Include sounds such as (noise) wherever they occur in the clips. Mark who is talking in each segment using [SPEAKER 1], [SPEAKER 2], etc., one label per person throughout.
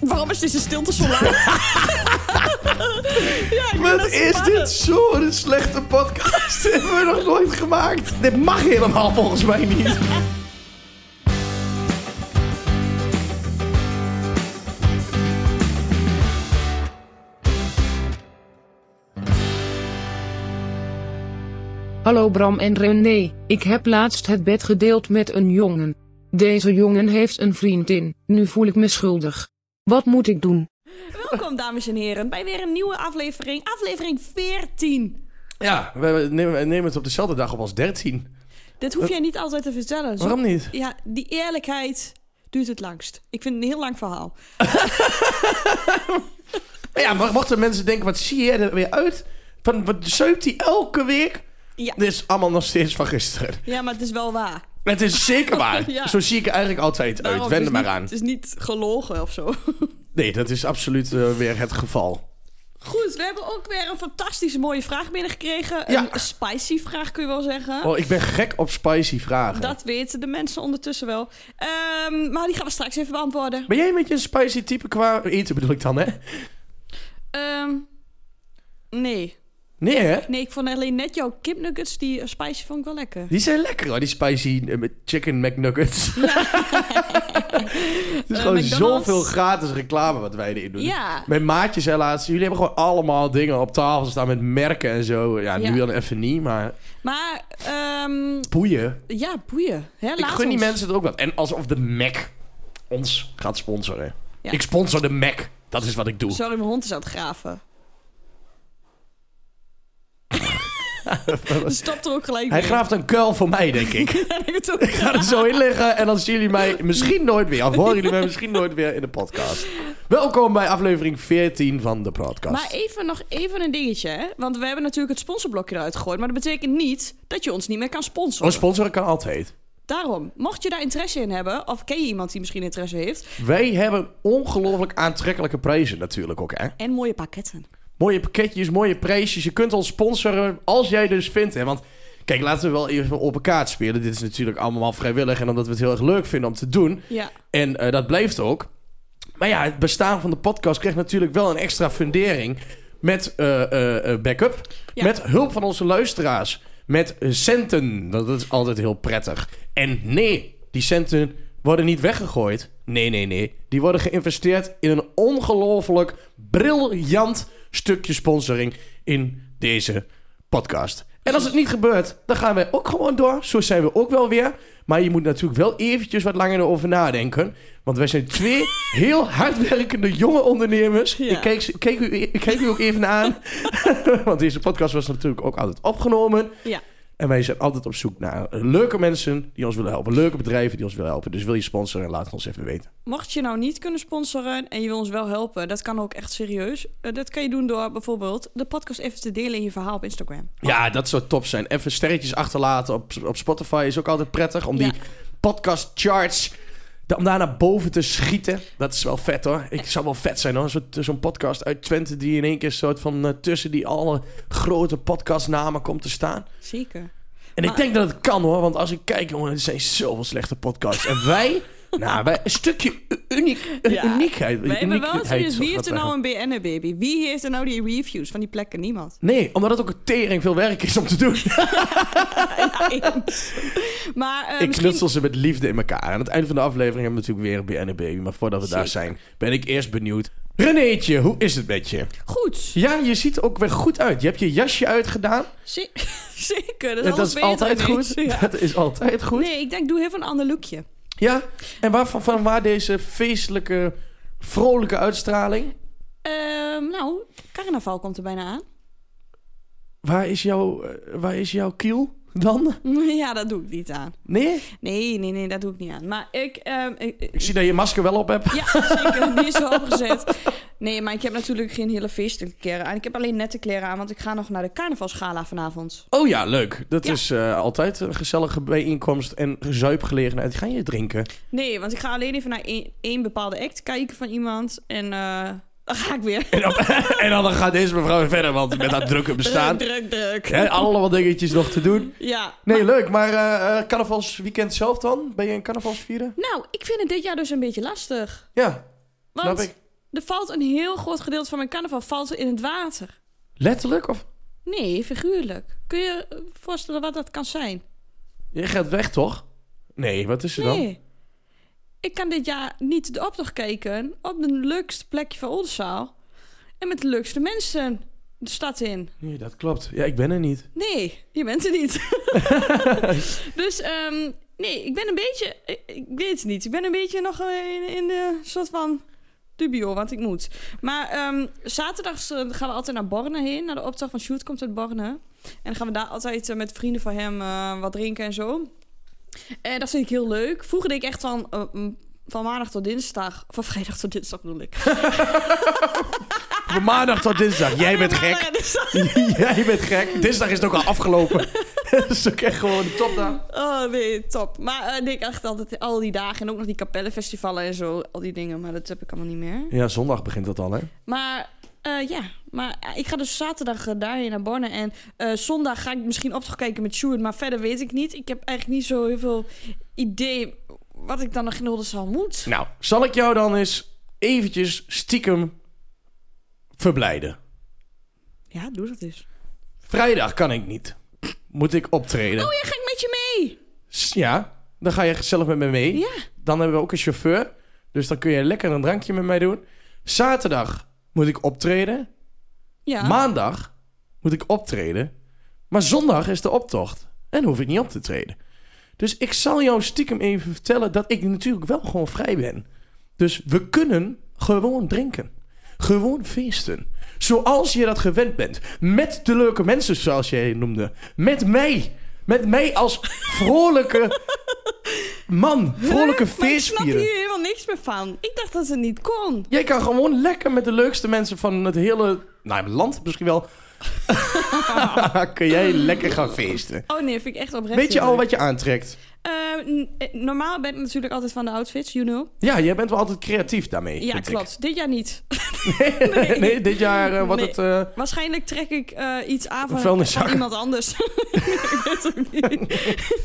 [SPEAKER 1] Waarom is deze stilte zo lang?
[SPEAKER 2] (laughs)
[SPEAKER 1] ja, ik ben
[SPEAKER 2] Wat
[SPEAKER 1] aan het
[SPEAKER 2] is
[SPEAKER 1] spannen.
[SPEAKER 2] dit zo'n slechte podcast? (laughs) Hebben we nog nooit gemaakt? Dit mag helemaal volgens mij niet.
[SPEAKER 3] Hallo Bram en René, ik heb laatst het bed gedeeld met een jongen. Deze jongen heeft een vriendin, nu voel ik me schuldig. Wat moet ik doen?
[SPEAKER 1] Welkom, dames en heren, bij weer een nieuwe aflevering. Aflevering 14.
[SPEAKER 2] Ja, we nemen, we nemen het op dezelfde dag op als 13.
[SPEAKER 1] Dit hoef jij niet altijd te vertellen. Zo-
[SPEAKER 2] Eh. Waarom niet?
[SPEAKER 1] Ja, die eerlijkheid duurt het langst. Ik vind het een heel lang verhaal.
[SPEAKER 2] Ja, maar mochten mensen denken, wat zie jij er weer uit? Van, wat zeupt hij elke week?
[SPEAKER 1] Ja.
[SPEAKER 2] Dit is allemaal nog steeds van gisteren.
[SPEAKER 1] ja, maar het is wel waar.
[SPEAKER 2] Het
[SPEAKER 1] (laughs)
[SPEAKER 2] is zeker waar.
[SPEAKER 1] Ja.
[SPEAKER 2] Zo zie ik er eigenlijk altijd
[SPEAKER 1] Daarom,
[SPEAKER 2] uit.
[SPEAKER 1] het
[SPEAKER 2] Wend
[SPEAKER 1] is
[SPEAKER 2] er maar
[SPEAKER 1] niet-
[SPEAKER 2] aan.
[SPEAKER 1] Het is niet gelogen of zo. (laughs)
[SPEAKER 2] Nee, dat is absoluut eh, weer het geval.
[SPEAKER 1] Goed, we hebben ook weer een fantastische mooie vraag binnengekregen.
[SPEAKER 2] Ja.
[SPEAKER 1] Een spicy vraag kun je wel zeggen.
[SPEAKER 2] Oh, ik ben gek op spicy vragen.
[SPEAKER 1] Ah. Dat weten de mensen ondertussen wel. Ehm, maar die gaan we straks even beantwoorden.
[SPEAKER 2] Ben jij een beetje een spicy type qua eten bedoel ik dan, hè?
[SPEAKER 1] Ehm, nee.
[SPEAKER 2] Nee, hè?
[SPEAKER 1] Nee, ik vond alleen net jouw kipnuggets, die eh, spicy vond ik wel lekker.
[SPEAKER 2] Die zijn lekker hoor, die spicy eh, met chicken
[SPEAKER 1] (laughs)
[SPEAKER 2] McNuggets. (laughs) Het is
[SPEAKER 1] Eh,
[SPEAKER 2] gewoon
[SPEAKER 1] McDonald's.
[SPEAKER 2] zoveel gratis reclame wat wij erin doen.
[SPEAKER 1] Ja.
[SPEAKER 2] Mijn maatjes helaas, jullie hebben gewoon allemaal dingen op tafel staan met merken en zo. Ja,
[SPEAKER 1] Ja.
[SPEAKER 2] nu dan even niet, maar
[SPEAKER 1] Maar, ehm,
[SPEAKER 2] boeien.
[SPEAKER 1] ja, boeien. Hè,
[SPEAKER 2] ik
[SPEAKER 1] laat
[SPEAKER 2] gun die
[SPEAKER 1] ons.
[SPEAKER 2] mensen het ook wat. En alsof de Mac ons gaat sponsoren.
[SPEAKER 1] Ja.
[SPEAKER 2] Ik sponsor de Mac, dat is wat ik doe.
[SPEAKER 1] Sorry, mijn hond is aan het
[SPEAKER 2] (laughs)
[SPEAKER 1] graven. Stop er ook gelijk
[SPEAKER 2] Hij
[SPEAKER 1] mee. (laughs)
[SPEAKER 2] graaft een kuil voor mij, denk ik.
[SPEAKER 1] Ja, ik het ook.
[SPEAKER 2] ik ga er zo in liggen en dan zien jullie mij misschien nooit weer. Of horen jullie mij misschien nooit weer in de podcast. Welkom bij aflevering 14 van de podcast.
[SPEAKER 1] Maar even nog even een dingetje, hè? Want we hebben natuurlijk het sponsorblokje eruit gegooid. Maar dat betekent niet dat je ons niet meer kan
[SPEAKER 2] Oh,
[SPEAKER 1] sponsoren.
[SPEAKER 2] sponsoren kan altijd.
[SPEAKER 1] Daarom, mocht je daar interesse in hebben, of ken je iemand die misschien interesse heeft,
[SPEAKER 2] Wij hebben ongelooflijk aantrekkelijke prijzen natuurlijk ook, hè?
[SPEAKER 1] en mooie pakketten.
[SPEAKER 2] Mooie pakketjes, mooie prijsjes. Je kunt ons sponsoren als jij dus vindt, hè? Want kijk, laten we wel even op elkaar spelen. Dit is natuurlijk allemaal vrijwillig en omdat we het heel erg leuk vinden om te doen.
[SPEAKER 1] Ja.
[SPEAKER 2] En eh, dat blijft ook. Maar ja, het bestaan van de podcast krijgt natuurlijk wel een extra fundering. Met eh, eh, eh, backup.
[SPEAKER 1] Ja.
[SPEAKER 2] Met hulp van onze luisteraars. Met eh, centen. Want Dat is altijd heel prettig. En nee, die centen worden niet weggegooid. Nee, nee, nee. Die worden geïnvesteerd in een ongelooflijk briljant stukje sponsoring in deze podcast. En als het niet gebeurt, dan gaan wij ook gewoon door. Zo zijn we ook wel weer. Maar je moet natuurlijk wel eventjes wat langer erover nadenken. Want wij zijn twee heel hardwerkende jonge ondernemers.
[SPEAKER 1] Ja.
[SPEAKER 2] Ik, keek, ze- keek u, ik keek u ook even aan. want deze podcast was natuurlijk ook altijd opgenomen.
[SPEAKER 1] Ja.
[SPEAKER 2] En wij zijn altijd op zoek naar leuke mensen die ons willen helpen. Leuke bedrijven die ons willen helpen. Dus wil je sponsoren, laat het ons even weten.
[SPEAKER 1] Mocht je nou niet kunnen sponsoren en je wil ons wel helpen, dat kan ook echt serieus. Eh, dat kan je doen door bijvoorbeeld de podcast even te delen in je verhaal op Instagram.
[SPEAKER 2] Ja, dat zou top zijn. Even sterretjes achterlaten op, op Spotify is ook altijd prettig. Om
[SPEAKER 1] Ja.
[SPEAKER 2] die podcast charts, om daar naar boven te schieten. Dat is wel vet hoor. Ik zou wel vet zijn hoor. Zo- Zo'n podcast uit Twente die in één keer soort van eh, tussen die alle grote podcastnamen komt te staan.
[SPEAKER 1] Zeker.
[SPEAKER 2] En ik
[SPEAKER 1] Maar-
[SPEAKER 2] denk dat het kan hoor. Want als ik kijk jongen, er zijn zoveel slechte podcasts. En wij... Nou, wij, een stukje uniek,
[SPEAKER 1] Ja.
[SPEAKER 2] uniekheid.
[SPEAKER 1] We hebben wel
[SPEAKER 2] uniekheid,
[SPEAKER 1] serieus,
[SPEAKER 2] zo
[SPEAKER 1] wie
[SPEAKER 2] gaat
[SPEAKER 1] heeft er
[SPEAKER 2] het
[SPEAKER 1] nou een BN'er baby? Wie heeft er nou die reviews van die plekken?
[SPEAKER 2] (laughs)
[SPEAKER 1] Niemand.
[SPEAKER 2] Nee, omdat het ook een tering veel werk is om te doen.
[SPEAKER 1] maar eh,
[SPEAKER 2] ik
[SPEAKER 1] misschien...
[SPEAKER 2] knutsel ze met liefde in elkaar. Aan het einde van de aflevering hebben we natuurlijk weer een BNB. Maar voordat we daar zijn, ben ik eerst benieuwd. Renéetje, hoe is het met je?
[SPEAKER 1] Goed.
[SPEAKER 2] Ja, je ziet er ook weer goed uit. Je hebt je jasje uitgedaan.
[SPEAKER 1] Ze- (laughs) Zeker. Dat is,
[SPEAKER 2] Dat
[SPEAKER 1] alles
[SPEAKER 2] is
[SPEAKER 1] beter
[SPEAKER 2] altijd
[SPEAKER 1] ineens.
[SPEAKER 2] goed.
[SPEAKER 1] Ja.
[SPEAKER 2] Dat is (laughs) altijd goed.
[SPEAKER 1] Nee, ik denk, doe even een ander lookje.
[SPEAKER 2] Ja, en waar, van, van waar deze feestelijke, vrolijke uitstraling?
[SPEAKER 1] Ehm, nou, carnaval komt er bijna aan. (laughs)
[SPEAKER 2] Waar is, jouw, eh, waar is jouw kiel dan?
[SPEAKER 1] ja, dat doe ik niet aan.
[SPEAKER 2] Nee?
[SPEAKER 1] Nee, nee, nee, dat doe ik niet aan. Maar ik... ehm, ik-
[SPEAKER 2] Ik zie dat je masker wel op hebt.
[SPEAKER 1] ja, zeker. Die is wel opgezet. Nee, maar ik heb natuurlijk geen hele feestelijke kleren aan. Ik heb alleen nette kleren aan, want ik ga nog naar de carnavalsgala vanavond.
[SPEAKER 2] Oh ja, leuk. Dat
[SPEAKER 1] Ja.
[SPEAKER 2] is eh, altijd een gezellige bijeenkomst en zuipgelegenheid. Ga je drinken?
[SPEAKER 1] Nee, want ik ga alleen even naar één, één bepaalde act kijken van iemand. En eh dan ga ik weer.
[SPEAKER 2] En dan, (laughs) en dan gaat deze mevrouw weer verder, want met haar drukke
[SPEAKER 1] (laughs)
[SPEAKER 2] bestaan.
[SPEAKER 1] Druk, druk, druk.
[SPEAKER 2] Hè, allemaal dingetjes nog te doen.
[SPEAKER 1] Ja.
[SPEAKER 2] Nee, leuk, maar eh, eh, carnavalsweekend zelf dan? Ben je een carnavalsvieren?
[SPEAKER 1] Nou, ik vind het dit jaar dus een beetje lastig.
[SPEAKER 2] Ja,
[SPEAKER 1] Want
[SPEAKER 2] snap ik.
[SPEAKER 1] Er valt een heel groot gedeelte van mijn carnaval valt in het water.
[SPEAKER 2] Letterlijk? Of?
[SPEAKER 1] Nee, figuurlijk. Kun je eh, voorstellen wat dat kan zijn?
[SPEAKER 2] Je gaat weg, toch? Nee, wat is er dan?
[SPEAKER 1] Nee. Ik kan dit jaar niet de optocht kijken op de leukste plekje van Oldenzaal. En met de leukste mensen de stad in.
[SPEAKER 2] Nee, dat klopt. Ja, ik ben er niet.
[SPEAKER 1] Nee, je bent er
[SPEAKER 2] (laughs)
[SPEAKER 1] niet. dus ehm, nee, ik ben een beetje... Ik, ik weet het niet. Ik ben een beetje nog eh, in, in de soort van dubio, want ik moet. Maar ehm zaterdags eh, gaan we altijd naar Borne heen. Naar de optocht van Sjoerd komt uit Borne. En dan gaan we daar altijd eh, met vrienden van hem eh, wat drinken en zo. En dat vind ik heel leuk. Vroeger deed ik echt van... eh, mm, van maandag tot dinsdag, van vrijdag tot dinsdag bedoel ik.
[SPEAKER 2] Van maandag tot dinsdag. Jij bent
[SPEAKER 1] (laughs) Maandag
[SPEAKER 2] gek.
[SPEAKER 1] en dinsdag.
[SPEAKER 2] Jij bent gek. Dinsdag is het ook al
[SPEAKER 1] (laughs)
[SPEAKER 2] afgelopen. (laughs) dat is ook echt gewoon een topdag.
[SPEAKER 1] Oh nee, top. Maar eh, nee, ik echt altijd al die dagen en ook nog die kapellenfestivalen en zo, al die dingen, maar dat heb ik allemaal niet meer.
[SPEAKER 2] Ja, zondag begint dat al, hè?
[SPEAKER 1] Maar eh, ja, maar eh, ik ga dus zaterdag eh, daarheen naar Borne en eh, zondag ga ik misschien op kijken met Sjoerd, maar verder weet ik niet. Ik heb eigenlijk niet zo heel veel idee wat ik dan nog in Oldenzaal moet.
[SPEAKER 2] Nou, zal ik jou dan eens eventjes stiekem verblijden?
[SPEAKER 1] Ja, doe dat eens.
[SPEAKER 2] Vrijdag kan ik niet. Moet ik optreden?
[SPEAKER 1] Oh ja, ga ik met je mee?
[SPEAKER 2] S- Ja, dan ga je gezellig met me mee.
[SPEAKER 1] Ja.
[SPEAKER 2] Dan hebben we ook een chauffeur. Dus dan kun je lekker een drankje met mij doen. Zaterdag moet ik optreden.
[SPEAKER 1] Ja.
[SPEAKER 2] Maandag moet ik optreden. Maar zondag is de optocht. En hoef ik niet op te treden. Dus ik zal jou stiekem even vertellen dat ik natuurlijk wel gewoon vrij ben. Dus we kunnen gewoon drinken. Gewoon feesten. Zoals je dat gewend bent. Met de leuke mensen, zoals jij noemde. Met mij. Met mij als
[SPEAKER 1] (laughs)
[SPEAKER 2] vrolijke man. Vrolijke
[SPEAKER 1] maar ik snap hier
[SPEAKER 2] feestvieren.
[SPEAKER 1] helemaal niks meer van. Ik dacht dat ze niet kon.
[SPEAKER 2] Jij kan gewoon lekker met de leukste mensen van het hele nou, land misschien wel. (laughs) kun jij lekker gaan feesten.
[SPEAKER 1] Oh nee, vind ik echt oprecht.
[SPEAKER 2] Weet je
[SPEAKER 1] heel
[SPEAKER 2] al
[SPEAKER 1] leuk.
[SPEAKER 2] wat je aantrekt?
[SPEAKER 1] Eh, n- eh, normaal ben ik natuurlijk altijd van de outfits, you know.
[SPEAKER 2] Ja, jij bent wel altijd creatief daarmee.
[SPEAKER 1] Ja,
[SPEAKER 2] vind ik.
[SPEAKER 1] klopt. Dit jaar niet.
[SPEAKER 2] (laughs) nee. dit jaar eh, wordt
[SPEAKER 1] Nee.
[SPEAKER 2] het... eh,
[SPEAKER 1] Waarschijnlijk trek ik eh, iets aan
[SPEAKER 2] Een
[SPEAKER 1] van,
[SPEAKER 2] vuilniszak.
[SPEAKER 1] van iemand anders. (laughs) ik weet het ook niet.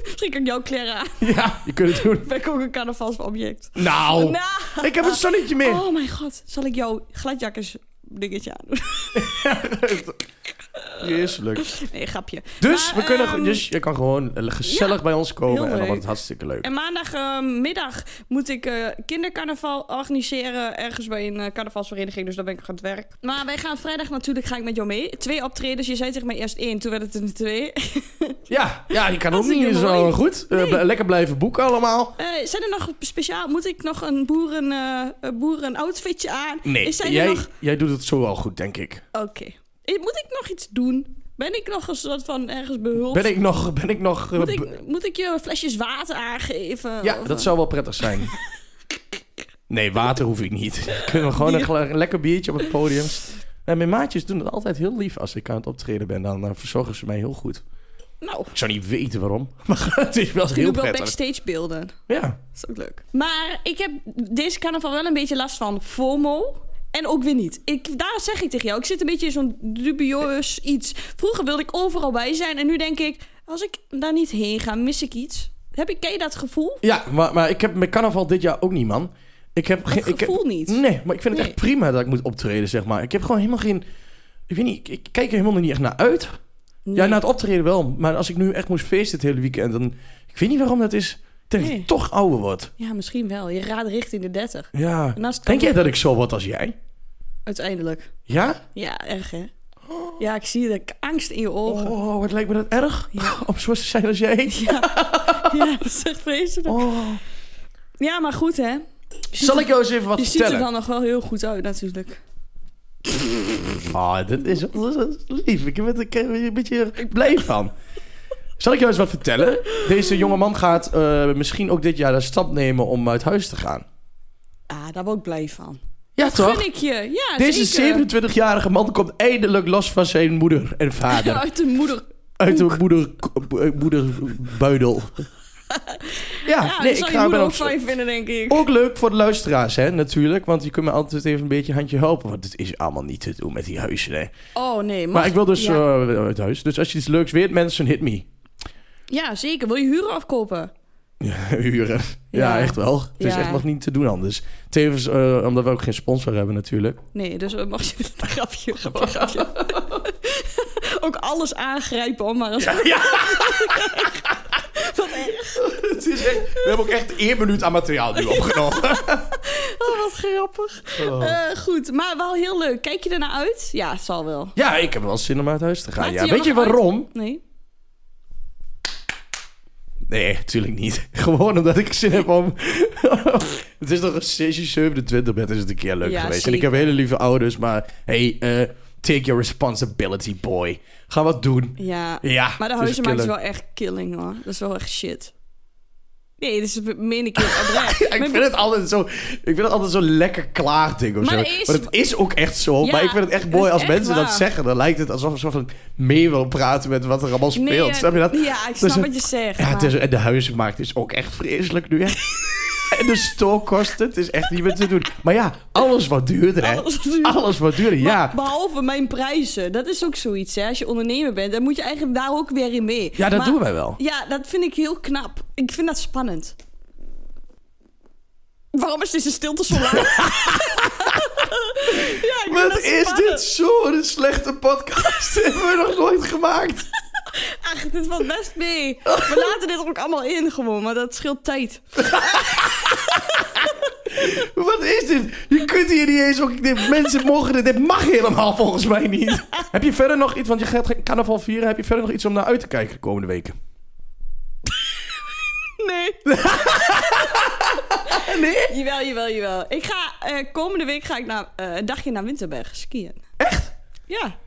[SPEAKER 1] Misschien kan ik jouw kleren aan.
[SPEAKER 2] ja, (laughs) je kunt het doen.
[SPEAKER 1] Ben ik ook een carnavalsobject.
[SPEAKER 2] Nou,
[SPEAKER 1] (laughs) Nou.
[SPEAKER 2] ik heb een zonnetje meer. (laughs)
[SPEAKER 1] Oh mijn god. Zal ik jouw gladjakkers dingetje aan doen?
[SPEAKER 2] Vreselijk.
[SPEAKER 1] Nee, grapje.
[SPEAKER 2] Dus,
[SPEAKER 1] Maar,
[SPEAKER 2] we kunnen,
[SPEAKER 1] ehm,
[SPEAKER 2] ge- dus je kan gewoon eh, gezellig bij ons komen.
[SPEAKER 1] heel
[SPEAKER 2] En dan wordt
[SPEAKER 1] leuk.
[SPEAKER 2] het hartstikke leuk.
[SPEAKER 1] En maandagmiddag moet ik eh, kindercarnaval organiseren. Ergens bij een eh, carnavalsvereniging. Dus daar ben ik aan het werk. Maar wij gaan vrijdag natuurlijk ga ik met jou mee. Twee optredens. Je zei tegen mij eerst één. Toen werd het een twee.
[SPEAKER 2] Ja, ja, je kan
[SPEAKER 1] Dat
[SPEAKER 2] ook
[SPEAKER 1] is
[SPEAKER 2] niet
[SPEAKER 1] niet
[SPEAKER 2] zo
[SPEAKER 1] mooi.
[SPEAKER 2] goed. Eh,
[SPEAKER 1] Nee.
[SPEAKER 2] bl- lekker blijven boeken allemaal.
[SPEAKER 1] Eh, zijn er nog speciaal? Moet ik nog een boeren, eh, een boerenoutfitje aan?
[SPEAKER 2] Nee,
[SPEAKER 1] Is- zijn er
[SPEAKER 2] jij,
[SPEAKER 1] nog-
[SPEAKER 2] jij doet het zo al goed, denk ik.
[SPEAKER 1] Oké. Eh, Moet ik nog iets doen? Ben ik nog een soort van ergens behulp?
[SPEAKER 2] Ben ik nog... Ben ik nog eh,
[SPEAKER 1] moet,
[SPEAKER 2] be-
[SPEAKER 1] ik, moet ik je flesjes water aangeven?
[SPEAKER 2] Ja,
[SPEAKER 1] Of-
[SPEAKER 2] dat zou wel prettig
[SPEAKER 1] (laughs)
[SPEAKER 2] zijn. Nee, water hoef ik niet. (laughs) Kunnen we gewoon een, gla- een lekker biertje op het podium. En mijn maatjes doen het altijd heel lief als ik aan het optreden ben. Dan eh, verzorgen ze mij heel goed.
[SPEAKER 1] Nou,
[SPEAKER 2] Ik zou niet weten waarom. (laughs) Maar het is wel
[SPEAKER 1] ik
[SPEAKER 2] heel
[SPEAKER 1] doe wel
[SPEAKER 2] prettig.
[SPEAKER 1] backstage beelden.
[SPEAKER 2] Ja.
[SPEAKER 1] Dat is ook leuk. Maar ik heb deze carnaval wel een beetje last van FOMO. En ook weer niet. Ik, daar zeg ik tegen jou. Ik zit een beetje in zo'n dubieus iets. Vroeger wilde ik overal bij zijn. En nu denk ik, als ik daar niet heen ga, mis ik iets. Heb ik, ken je dat gevoel?
[SPEAKER 2] Ja, maar, maar ik heb mijn carnaval dit jaar ook niet, man. Ik heb geen...
[SPEAKER 1] Dat
[SPEAKER 2] ik heb-
[SPEAKER 1] gevoel niet.
[SPEAKER 2] Nee, maar ik vind het
[SPEAKER 1] Nee.
[SPEAKER 2] echt prima dat ik moet optreden, zeg maar. Ik heb gewoon helemaal geen... Ik weet niet, ik, ik kijk er helemaal niet echt naar uit. Ja, nou-
[SPEAKER 1] Nee.
[SPEAKER 2] na het optreden wel. Maar als ik nu echt moest feesten het hele weekend, dan... Ik weet niet waarom dat is. Ik denk dat ik
[SPEAKER 1] Nee.
[SPEAKER 2] toch ouder word.
[SPEAKER 1] Ja, misschien wel. Je raadt richting de 30.
[SPEAKER 2] Ja.
[SPEAKER 1] En als het kan-
[SPEAKER 2] Denk jij dat ik zo word als jij?
[SPEAKER 1] Uiteindelijk.
[SPEAKER 2] Ja?
[SPEAKER 1] Ja, erg hè? Ja, ik zie de k- angst in je ogen.
[SPEAKER 2] Oh, wat lijkt me dat erg. (laughs) Om zo te zijn als jij.
[SPEAKER 1] (laughs) Ja, dat is echt vreselijk.
[SPEAKER 2] Oh.
[SPEAKER 1] Ja, maar goed hè.
[SPEAKER 2] Zal ik jou eens even wat
[SPEAKER 1] Je ziet er
[SPEAKER 2] vertellen?
[SPEAKER 1] dan nog wel heel goed uit natuurlijk.
[SPEAKER 2] Oh, dat is, dat is lief. Ik ben er- ik ben er een beetje blij van. Zal ik jou eens wat vertellen? Deze jonge man gaat eh, misschien ook dit jaar de stap nemen om uit huis te gaan.
[SPEAKER 1] Ah, daar word ik blij van.
[SPEAKER 2] Ja,
[SPEAKER 1] Gun ik je. Ja,
[SPEAKER 2] Oh. Deze
[SPEAKER 1] zeker.
[SPEAKER 2] 27-jarige man komt eindelijk los van zijn moeder en vader.
[SPEAKER 1] (laughs) Uit de moeder.
[SPEAKER 2] Uit de moeder,
[SPEAKER 1] (laughs)
[SPEAKER 2] moederbuidel. Ja,
[SPEAKER 1] Ja, dat
[SPEAKER 2] nee, ik
[SPEAKER 1] zou
[SPEAKER 2] ga
[SPEAKER 1] je
[SPEAKER 2] ben
[SPEAKER 1] moeder ook
[SPEAKER 2] ook
[SPEAKER 1] fijn vinden, denk ik.
[SPEAKER 2] Ook leuk voor de luisteraars, hè, natuurlijk. Want je kunt me altijd even een beetje handje helpen. Want het is allemaal niet te doen met die huizen, hè.
[SPEAKER 1] Oh nee, mag-
[SPEAKER 2] Maar ik wil dus
[SPEAKER 1] Ja,
[SPEAKER 2] eh, uit huis. Dus als je iets leuks weet, mensen, hit me. (laughs)
[SPEAKER 1] Ja, zeker. Wil je huren of kopen?
[SPEAKER 2] huren. Ja,
[SPEAKER 1] Ja.
[SPEAKER 2] echt wel. Het is
[SPEAKER 1] Ja.
[SPEAKER 2] echt nog niet te doen anders. Tevens, eh, omdat we ook geen sponsor hebben natuurlijk.
[SPEAKER 1] (laughs) Nee, dus eh, mag je een grapje, grapje, grapje. (laughs) Ook alles aangrijpen om maar als... Wat erg.
[SPEAKER 2] Het is echt- we hebben ook echt één minuut aan materiaal nu
[SPEAKER 1] (laughs)
[SPEAKER 2] opgenomen.
[SPEAKER 1] Oh, wat grappig.
[SPEAKER 2] Oh.
[SPEAKER 1] Eh, goed, maar wel heel leuk. Kijk je ernaar uit? Ja, het zal wel.
[SPEAKER 2] Ja, ik heb wel zin om uit huis te gaan.
[SPEAKER 1] Maakt
[SPEAKER 2] Ja.
[SPEAKER 1] hij
[SPEAKER 2] Weet
[SPEAKER 1] er
[SPEAKER 2] je
[SPEAKER 1] nog uit?
[SPEAKER 2] waarom?
[SPEAKER 1] Nee.
[SPEAKER 2] Nee, natuurlijk niet. (laughs) Gewoon omdat ik zin heb
[SPEAKER 1] (laughs)
[SPEAKER 2] om... het is toch een sessie 27 bed is het een keer leuk
[SPEAKER 1] Ja,
[SPEAKER 2] geweest. En
[SPEAKER 1] zeker.
[SPEAKER 2] ik heb hele lieve ouders, maar... Hey, eh, take your responsibility, boy. Ga wat doen.
[SPEAKER 1] Ja.
[SPEAKER 2] Ja,
[SPEAKER 1] Maar de
[SPEAKER 2] het is
[SPEAKER 1] huizenmarkt is
[SPEAKER 2] killer.
[SPEAKER 1] wel echt killing, hoor. Dat is wel echt shit. Nee, dit is meen ik heel
[SPEAKER 2] (laughs)
[SPEAKER 1] oprecht.
[SPEAKER 2] (laughs) Ik vind het altijd zo, ik vind het altijd zo lekker klaagding of
[SPEAKER 1] Maar
[SPEAKER 2] zo.
[SPEAKER 1] het is-
[SPEAKER 2] maar het is ook echt zo.
[SPEAKER 1] Ja,
[SPEAKER 2] maar ik vind het echt
[SPEAKER 1] het
[SPEAKER 2] mooi
[SPEAKER 1] is
[SPEAKER 2] als
[SPEAKER 1] echt
[SPEAKER 2] mensen dat
[SPEAKER 1] waar.
[SPEAKER 2] zeggen. Dan lijkt het alsof ze van mee wil praten met wat er allemaal
[SPEAKER 1] Nee,
[SPEAKER 2] speelt.
[SPEAKER 1] eh,
[SPEAKER 2] Snap je dat?
[SPEAKER 1] Ja, ik
[SPEAKER 2] Dus
[SPEAKER 1] snap
[SPEAKER 2] het-
[SPEAKER 1] wat je zegt.
[SPEAKER 2] Ja, het
[SPEAKER 1] maar-
[SPEAKER 2] is, en de huizenmarkt is ook echt vreselijk
[SPEAKER 1] (laughs)
[SPEAKER 2] nu, hè? en de stookkosten, het is echt niet meer te doen. Maar ja, alles wat duurder, hè?
[SPEAKER 1] Alles wat duurder.
[SPEAKER 2] Alles wat duurder, ja.
[SPEAKER 1] Maar Behalve mijn prijzen. Dat is ook zoiets, hè. Als je ondernemer bent, dan moet je eigenlijk daar ook weer in mee.
[SPEAKER 2] Ja, dat
[SPEAKER 1] Maar-
[SPEAKER 2] doen wij wel.
[SPEAKER 1] Ja, dat vind ik heel knap. Ik vind dat spannend. Waarom is deze stilte zo
[SPEAKER 2] (laughs)
[SPEAKER 1] lang? ja, ik vind
[SPEAKER 2] Wat
[SPEAKER 1] dat
[SPEAKER 2] is
[SPEAKER 1] spannend.
[SPEAKER 2] dit zo'n slechte podcast? (laughs) Hebben we nog nooit gemaakt?
[SPEAKER 1] Ach, dit valt best mee. We laten dit er ook allemaal in gewoon, maar dat scheelt tijd.
[SPEAKER 2] (laughs) Wat is dit? Je kunt hier niet eens ook. Dit, mensen mogen dit. Dit mag helemaal volgens mij
[SPEAKER 1] (laughs)
[SPEAKER 2] niet. Heb je verder nog iets? Want je gaat geen carnaval vieren. Heb je verder nog iets om naar uit te kijken de komende weken?
[SPEAKER 1] Nee. nee? (laughs) Jawel, jawel, jawel. Ik ga, eh, komende week ga ik naar, eh, een dagje naar Winterberg skiën.
[SPEAKER 2] Echt?
[SPEAKER 1] Ja.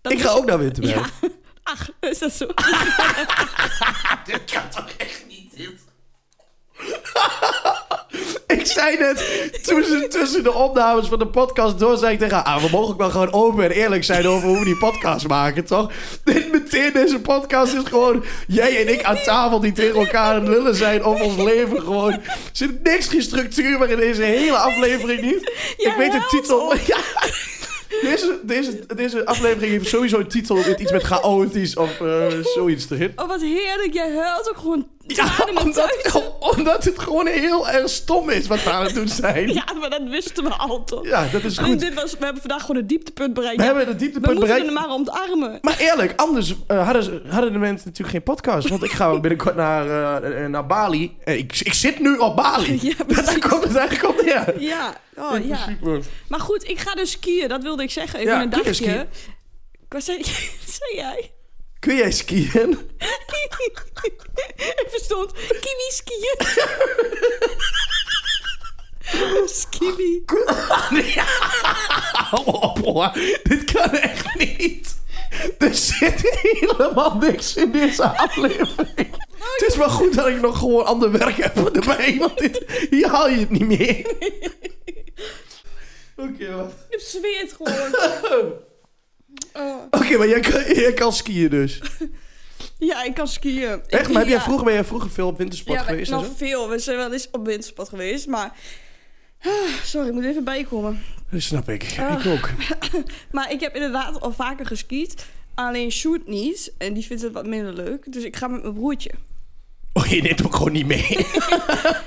[SPEAKER 1] Dat
[SPEAKER 2] Ik
[SPEAKER 1] is-
[SPEAKER 2] ga ook naar Winterberg.
[SPEAKER 1] Ja. (laughs) Ach, is dat zo?
[SPEAKER 2] Dit kan toch echt niet, dit? ik zei net, tussen, tussen de opnames van de podcast door, zei ik tegen haar... Ah, we mogen ook wel gewoon open en eerlijk zijn over hoe we die podcast maken, toch? Dit meteen, deze podcast is gewoon jij en ik aan tafel die tegen elkaar aan het lullen zijn over ons leven gewoon. Er zit niks gestructureerd in deze hele aflevering niet.
[SPEAKER 1] Ja,
[SPEAKER 2] ik weet de
[SPEAKER 1] helpt
[SPEAKER 2] titel... Ja. Deze, deze, deze aflevering heeft sowieso een titel met iets met chaotisch of eh, zoiets erin.
[SPEAKER 1] Oh, wat heerlijk. Jij huilt ook gewoon
[SPEAKER 2] Ja,
[SPEAKER 1] tranen met
[SPEAKER 2] omdat, Oh.
[SPEAKER 1] tuiten.
[SPEAKER 2] omdat het gewoon heel erg stom is wat we aan het doen zijn. Ja,
[SPEAKER 1] (laughs) Ja, maar dat wisten we al toch?
[SPEAKER 2] dat is
[SPEAKER 1] Alleen
[SPEAKER 2] goed.
[SPEAKER 1] dit was, we hebben vandaag gewoon het dieptepunt bereikt.
[SPEAKER 2] We hebben het
[SPEAKER 1] we
[SPEAKER 2] dieptepunt
[SPEAKER 1] moeten
[SPEAKER 2] bereikt.
[SPEAKER 1] hem maar ontarmen.
[SPEAKER 2] Maar eerlijk, anders eh, hadden, ze- hadden de mensen natuurlijk geen podcast. Want ik ga binnenkort naar, eh, eh, naar Bali. Eh, ik, ik zit nu op Bali.
[SPEAKER 1] (laughs) Ja, precies.
[SPEAKER 2] (laughs) Daar komt het eigenlijk op neer.
[SPEAKER 1] Ja, oh ja. Maar goed, ik ga dus skiën. Dat wilde ik zeggen. Even
[SPEAKER 2] Ja,
[SPEAKER 1] een
[SPEAKER 2] kun je
[SPEAKER 1] dagje.
[SPEAKER 2] skiën?
[SPEAKER 1] Ik was- zei (laughs) jij?
[SPEAKER 2] Kun jij skiën?
[SPEAKER 1] ik verstond. Kiwi skiën. (laughs) Skiwi.
[SPEAKER 2] Hou op, hoor. (laughs) Dit kan echt niet. Er zit helemaal niks in deze aflevering. Het is maar goed dat ik nog gewoon ander werk heb erbij, want dit, hier haal je het niet meer in.
[SPEAKER 1] (laughs)
[SPEAKER 2] Oké, wacht.
[SPEAKER 1] Ik zweer het
[SPEAKER 2] (laughs)
[SPEAKER 1] gewoon. Oh.
[SPEAKER 2] Oké, maar jij kan, jij kan skiën
[SPEAKER 1] (laughs)
[SPEAKER 2] dus.
[SPEAKER 1] Ja, ik kan skiën.
[SPEAKER 2] Echt? Maar heb jij
[SPEAKER 1] Ja.
[SPEAKER 2] vroeger, ben jij vroeger veel op wintersport
[SPEAKER 1] ja,
[SPEAKER 2] geweest?
[SPEAKER 1] nog
[SPEAKER 2] en zo?
[SPEAKER 1] veel. We zijn wel eens op winterspad geweest, maar... Ah, Sorry, ik moet even bijkomen.
[SPEAKER 2] Dat snap ik.
[SPEAKER 1] Ah.
[SPEAKER 2] Ik ook.
[SPEAKER 1] Maar ik heb inderdaad al vaker geskiet. Alleen Shoot niet. En die vindt het wat minder leuk. Dus ik ga met mijn broertje.
[SPEAKER 2] Oh, je neemt hem gewoon niet (laughs) mee.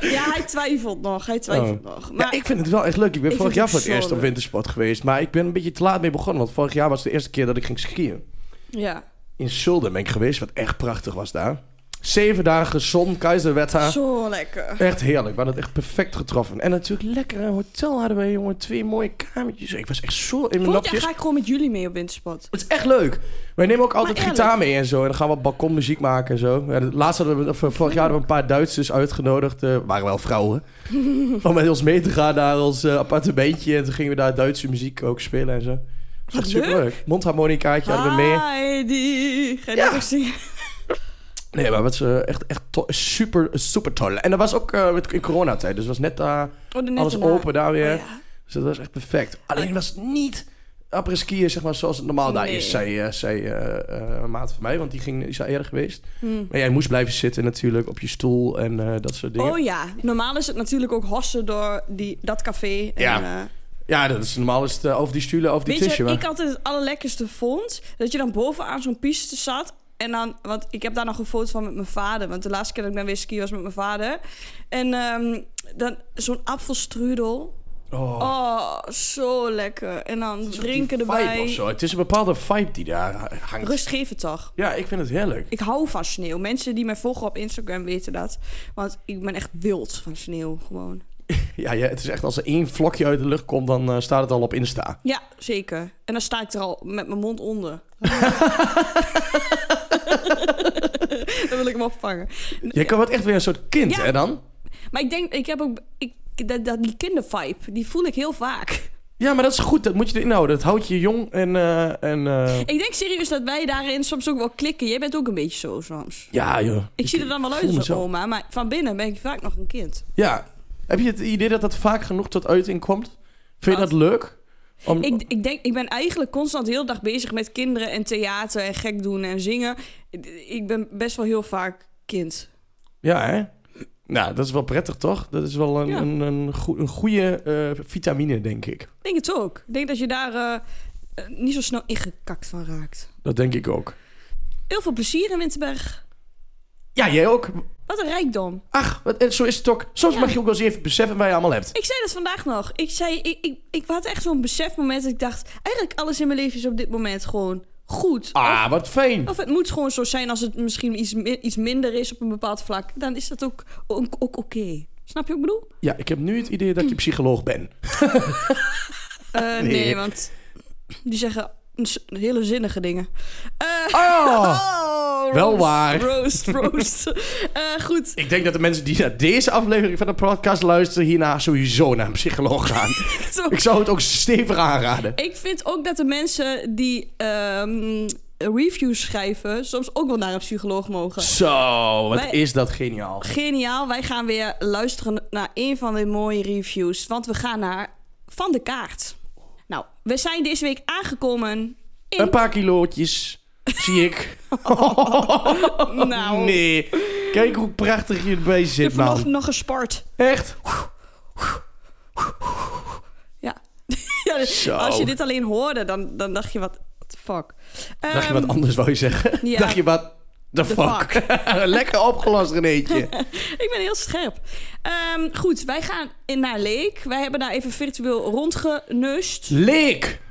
[SPEAKER 1] Ja, hij twijfelt nog. Hij twijfelt nog. Maar
[SPEAKER 2] Oh. ja, ik vind het wel echt leuk. Ik ben
[SPEAKER 1] Ik vind
[SPEAKER 2] vorig jaar
[SPEAKER 1] het
[SPEAKER 2] voor het
[SPEAKER 1] zo
[SPEAKER 2] eerst op
[SPEAKER 1] leuk.
[SPEAKER 2] wintersport geweest. Maar ik ben een beetje te laat mee begonnen. Want vorig jaar was de eerste keer dat ik ging skiën.
[SPEAKER 1] ja.
[SPEAKER 2] In Zulden ben ik geweest, wat echt prachtig was daar. Zeven dagen zon, keizerwetter.
[SPEAKER 1] Zo lekker.
[SPEAKER 2] Echt heerlijk, we hadden het echt perfect getroffen. En natuurlijk lekker een hotel hadden we, jongen. Twee mooie kamertjes. Ik was echt zo in mijn
[SPEAKER 1] Volgend jaar
[SPEAKER 2] nopjes.
[SPEAKER 1] ga ik gewoon met jullie mee op winterspad.
[SPEAKER 2] Het is echt leuk. Wij nemen ook altijd
[SPEAKER 1] Maar eerlijk.
[SPEAKER 2] gitaar mee en zo. En dan gaan we op balkon muziek maken en zo. Ja, de- Laatst hadden we, of, eh, vorig jaar hadden we een paar Duitsers uitgenodigd. eh, waren wel
[SPEAKER 1] (laughs)
[SPEAKER 2] vrouwen. om met ons mee te gaan naar ons eh, appartementje. En toen gingen we daar Duitse muziek ook spelen en zo. Dat
[SPEAKER 1] Wat
[SPEAKER 2] is echt
[SPEAKER 1] leuk. Ah.
[SPEAKER 2] superleuk. Mondharmonicaatje hadden we mee.
[SPEAKER 1] Heidi. Ga je
[SPEAKER 2] Ja.
[SPEAKER 1] dat ook zingen?
[SPEAKER 2] Nee, maar het was eh, echt, echt to- super, super toll. En dat was ook eh, met in coronatijd. Dus het was net daar
[SPEAKER 1] Oh, de net
[SPEAKER 2] alles
[SPEAKER 1] erna.
[SPEAKER 2] open daar weer.
[SPEAKER 1] Oh, ja.
[SPEAKER 2] Dus dat was echt perfect. Alleen was het niet après skiën, zeg maar, zoals het normaal daar
[SPEAKER 1] Nee.
[SPEAKER 2] is, zei, eh, zei eh, eh, een maat van mij. Want die, ging, die is daar eerder geweest.
[SPEAKER 1] Hmm.
[SPEAKER 2] Maar jij moest blijven zitten natuurlijk op je stoel en eh, dat soort dingen.
[SPEAKER 1] Oh ja, normaal is het natuurlijk ook hossen door die, dat café. En,
[SPEAKER 2] Ja.
[SPEAKER 1] eh,
[SPEAKER 2] Ja, dat is normaal is het eh, over die stoelen, over die
[SPEAKER 1] weet je
[SPEAKER 2] tisje.
[SPEAKER 1] wat
[SPEAKER 2] maar-
[SPEAKER 1] ik altijd het allerlekkerste vond? Dat je dan bovenaan zo'n piste zat En dan, want ik heb daar nog een foto van met mijn vader. Want de laatste keer dat ik naar whisky was met mijn vader. En ehm, dan zo'n apfelstrudel.
[SPEAKER 2] Oh,
[SPEAKER 1] Oh, zo lekker. En dan drinken
[SPEAKER 2] die vibe of
[SPEAKER 1] erbij.
[SPEAKER 2] zo. Het is een bepaalde vibe die daar hangt.
[SPEAKER 1] Rustgevend toch?
[SPEAKER 2] Ja, ik vind het heerlijk.
[SPEAKER 1] Ik hou van sneeuw. Mensen die mij volgen op Instagram weten dat. Want ik ben echt wild van sneeuw gewoon.
[SPEAKER 2] Ja, ja, het is echt als er één vlokje uit de lucht komt, dan eh, staat het al op Insta.
[SPEAKER 1] Ja, zeker. En dan sta ik er al met mijn mond onder. dan wil ik hem opvangen.
[SPEAKER 2] Je kan wat echt weer een soort kind,
[SPEAKER 1] Ja.
[SPEAKER 2] hè dan?
[SPEAKER 1] Maar ik denk, ik heb ook... Ik, dat, dat, die kindervibe, die voel ik heel vaak.
[SPEAKER 2] Ja, maar dat is goed. Dat moet je erin houden. Dat houdt je jong en... eh, en eh,
[SPEAKER 1] Ik denk serieus dat wij daarin soms ook wel klikken. Jij bent ook een beetje zo soms.
[SPEAKER 2] Ja, joh.
[SPEAKER 1] Ik zie er dan wel uit
[SPEAKER 2] voel
[SPEAKER 1] als een
[SPEAKER 2] mezelf.
[SPEAKER 1] oma, maar van binnen ben ik vaak nog een kind.
[SPEAKER 2] Ja. Heb je het idee dat dat vaak genoeg tot uiting komt? Vind je
[SPEAKER 1] Wat?
[SPEAKER 2] dat leuk? Om...
[SPEAKER 1] Ik, ik, denk, ik ben eigenlijk constant heel de dag bezig met kinderen en theater en gek doen en zingen. Ik ben best wel heel vaak kind.
[SPEAKER 2] Ja, hè? Nou, dat is wel prettig, toch? Dat is wel een,
[SPEAKER 1] Ja.
[SPEAKER 2] een, een, goe- een goede eh, vitamine, denk ik.
[SPEAKER 1] Ik denk het ook. Ik denk dat je daar eh, eh, niet zo snel ingekakt van raakt.
[SPEAKER 2] Dat denk ik ook.
[SPEAKER 1] Heel veel plezier in Winterberg.
[SPEAKER 2] Ja, jij ook.
[SPEAKER 1] Wat een rijkdom.
[SPEAKER 2] Ach, wat, en zo is het ook. Soms
[SPEAKER 1] Ja.
[SPEAKER 2] mag je ook wel eens even beseffen wat je allemaal hebt.
[SPEAKER 1] Ik zei dat vandaag nog. Ik zei, ik, ik, ik had echt zo'n besefmoment dat ik dacht... Eigenlijk alles in mijn leven is op dit moment gewoon goed.
[SPEAKER 2] Ah, wat fijn.
[SPEAKER 1] Of, of het moet gewoon zo zijn als het misschien iets, mi- iets minder is op een bepaald vlak. Dan is dat ook, ook, ook oké. Snap je wat ik bedoel?
[SPEAKER 2] Ja, ik heb nu het idee
[SPEAKER 1] Hm.
[SPEAKER 2] dat ik psycholoog ben.
[SPEAKER 1] Eh, nee.
[SPEAKER 2] (laughs) Nee.
[SPEAKER 1] want die zeggen s- hele zinnige dingen. Eh, (laughs)
[SPEAKER 2] Oh!
[SPEAKER 1] oh,
[SPEAKER 2] wel
[SPEAKER 1] roast,
[SPEAKER 2] waar.
[SPEAKER 1] Roast,
[SPEAKER 2] (laughs)
[SPEAKER 1] roast. Eh, goed,
[SPEAKER 2] Ik denk dat de mensen die naar deze aflevering van de podcast luisteren... hierna sowieso naar een psycholoog gaan.
[SPEAKER 1] (laughs) zo.
[SPEAKER 2] ik zou het ook stevig aanraden.
[SPEAKER 1] Ik vind ook dat de mensen die ehm, reviews schrijven... soms ook wel naar een psycholoog mogen.
[SPEAKER 2] Zo, wat
[SPEAKER 1] Wij-
[SPEAKER 2] is dat geniaal.
[SPEAKER 1] Geniaal, wij gaan weer luisteren naar een van de mooie reviews. Want we gaan naar Van de Kaart. Nou, we zijn deze week aangekomen in...
[SPEAKER 2] Een paar kilootjes, zie ik.
[SPEAKER 1] nou,
[SPEAKER 2] Oh, Nee. Kijk hoe prachtig je erbij
[SPEAKER 1] ik
[SPEAKER 2] zit,
[SPEAKER 1] heb vanochtend
[SPEAKER 2] man.
[SPEAKER 1] nog gespart.
[SPEAKER 2] Echt?
[SPEAKER 1] Ja. (laughs) ja dus
[SPEAKER 2] Zo.
[SPEAKER 1] Als je dit alleen hoorde, dan, dan dacht je wat... What the fuck?
[SPEAKER 2] Dacht
[SPEAKER 1] Ehm,
[SPEAKER 2] je wat anders, wou je zeggen?
[SPEAKER 1] ja.
[SPEAKER 2] Dacht je wat... The
[SPEAKER 1] The
[SPEAKER 2] fuck. (laughs) Lekker opgelost, Renéetje.
[SPEAKER 1] Ik ben heel scherp. Ehm, goed, wij gaan in naar Leek. Wij hebben daar even virtueel rondgenust.
[SPEAKER 2] Leek.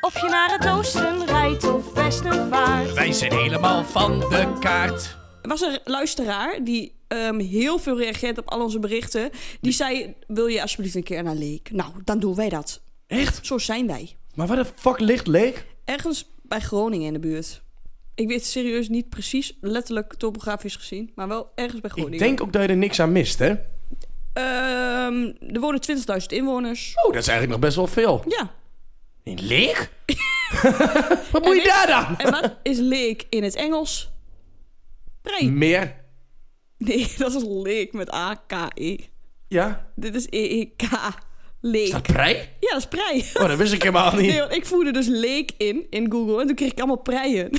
[SPEAKER 4] Of je naar het oosten rijdt of westen vaart.
[SPEAKER 2] Wij zijn helemaal van de kaart.
[SPEAKER 1] Er was een luisteraar die ehm, heel veel reageert op al onze berichten. Die zei, wil je alsjeblieft een keer naar Leek? Nou, dan doen wij dat.
[SPEAKER 2] Echt?
[SPEAKER 1] Zo zijn wij.
[SPEAKER 2] Maar waar de fuck ligt Leek?
[SPEAKER 1] Ergens bij Groningen in de buurt. Ik weet serieus niet precies, letterlijk topografisch gezien. Maar wel ergens bij Groningen.
[SPEAKER 2] Ik denk ook dat je er niks aan mist, hè?
[SPEAKER 1] Ehm, er wonen 20.000 inwoners.
[SPEAKER 2] Oh, dat is eigenlijk nog best wel veel.
[SPEAKER 1] Ja.
[SPEAKER 2] In Leek? (laughs) wat moet je
[SPEAKER 1] En
[SPEAKER 2] daar dan?
[SPEAKER 1] En
[SPEAKER 2] (laughs)
[SPEAKER 1] wat is Leek in het Engels? Prei.
[SPEAKER 2] Mm. Meer.
[SPEAKER 1] Nee, (laughs) dat is leek met A-K-E.
[SPEAKER 2] Ja.
[SPEAKER 1] Dit is E-E-K.
[SPEAKER 2] Is dat
[SPEAKER 1] Leek.
[SPEAKER 2] prei?
[SPEAKER 1] Ja, dat is
[SPEAKER 2] (laughs)
[SPEAKER 1] prei.
[SPEAKER 2] Oh, dat wist ik helemaal
[SPEAKER 1] Nee,
[SPEAKER 2] niet.
[SPEAKER 1] want ik voerde dus leek in, in Google. En toen kreeg ik allemaal preien. (laughs)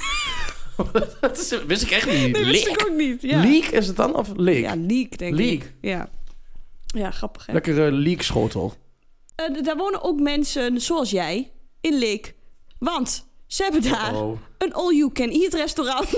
[SPEAKER 2] Dat is- wist ik echt niet.
[SPEAKER 1] Dat wist ik
[SPEAKER 2] Leek.
[SPEAKER 1] ook niet. Ja.
[SPEAKER 2] Leek is het dan? Of Leek?
[SPEAKER 1] Ja, leek denk ik.
[SPEAKER 2] Leek.
[SPEAKER 1] Ja. Ja, grappig hè.
[SPEAKER 2] Lekkere leakschotel.
[SPEAKER 1] Eh, d- daar wonen ook mensen zoals jij in leek. Want ze hebben daar
[SPEAKER 2] Oh.
[SPEAKER 1] een all-you-can-eat restaurant.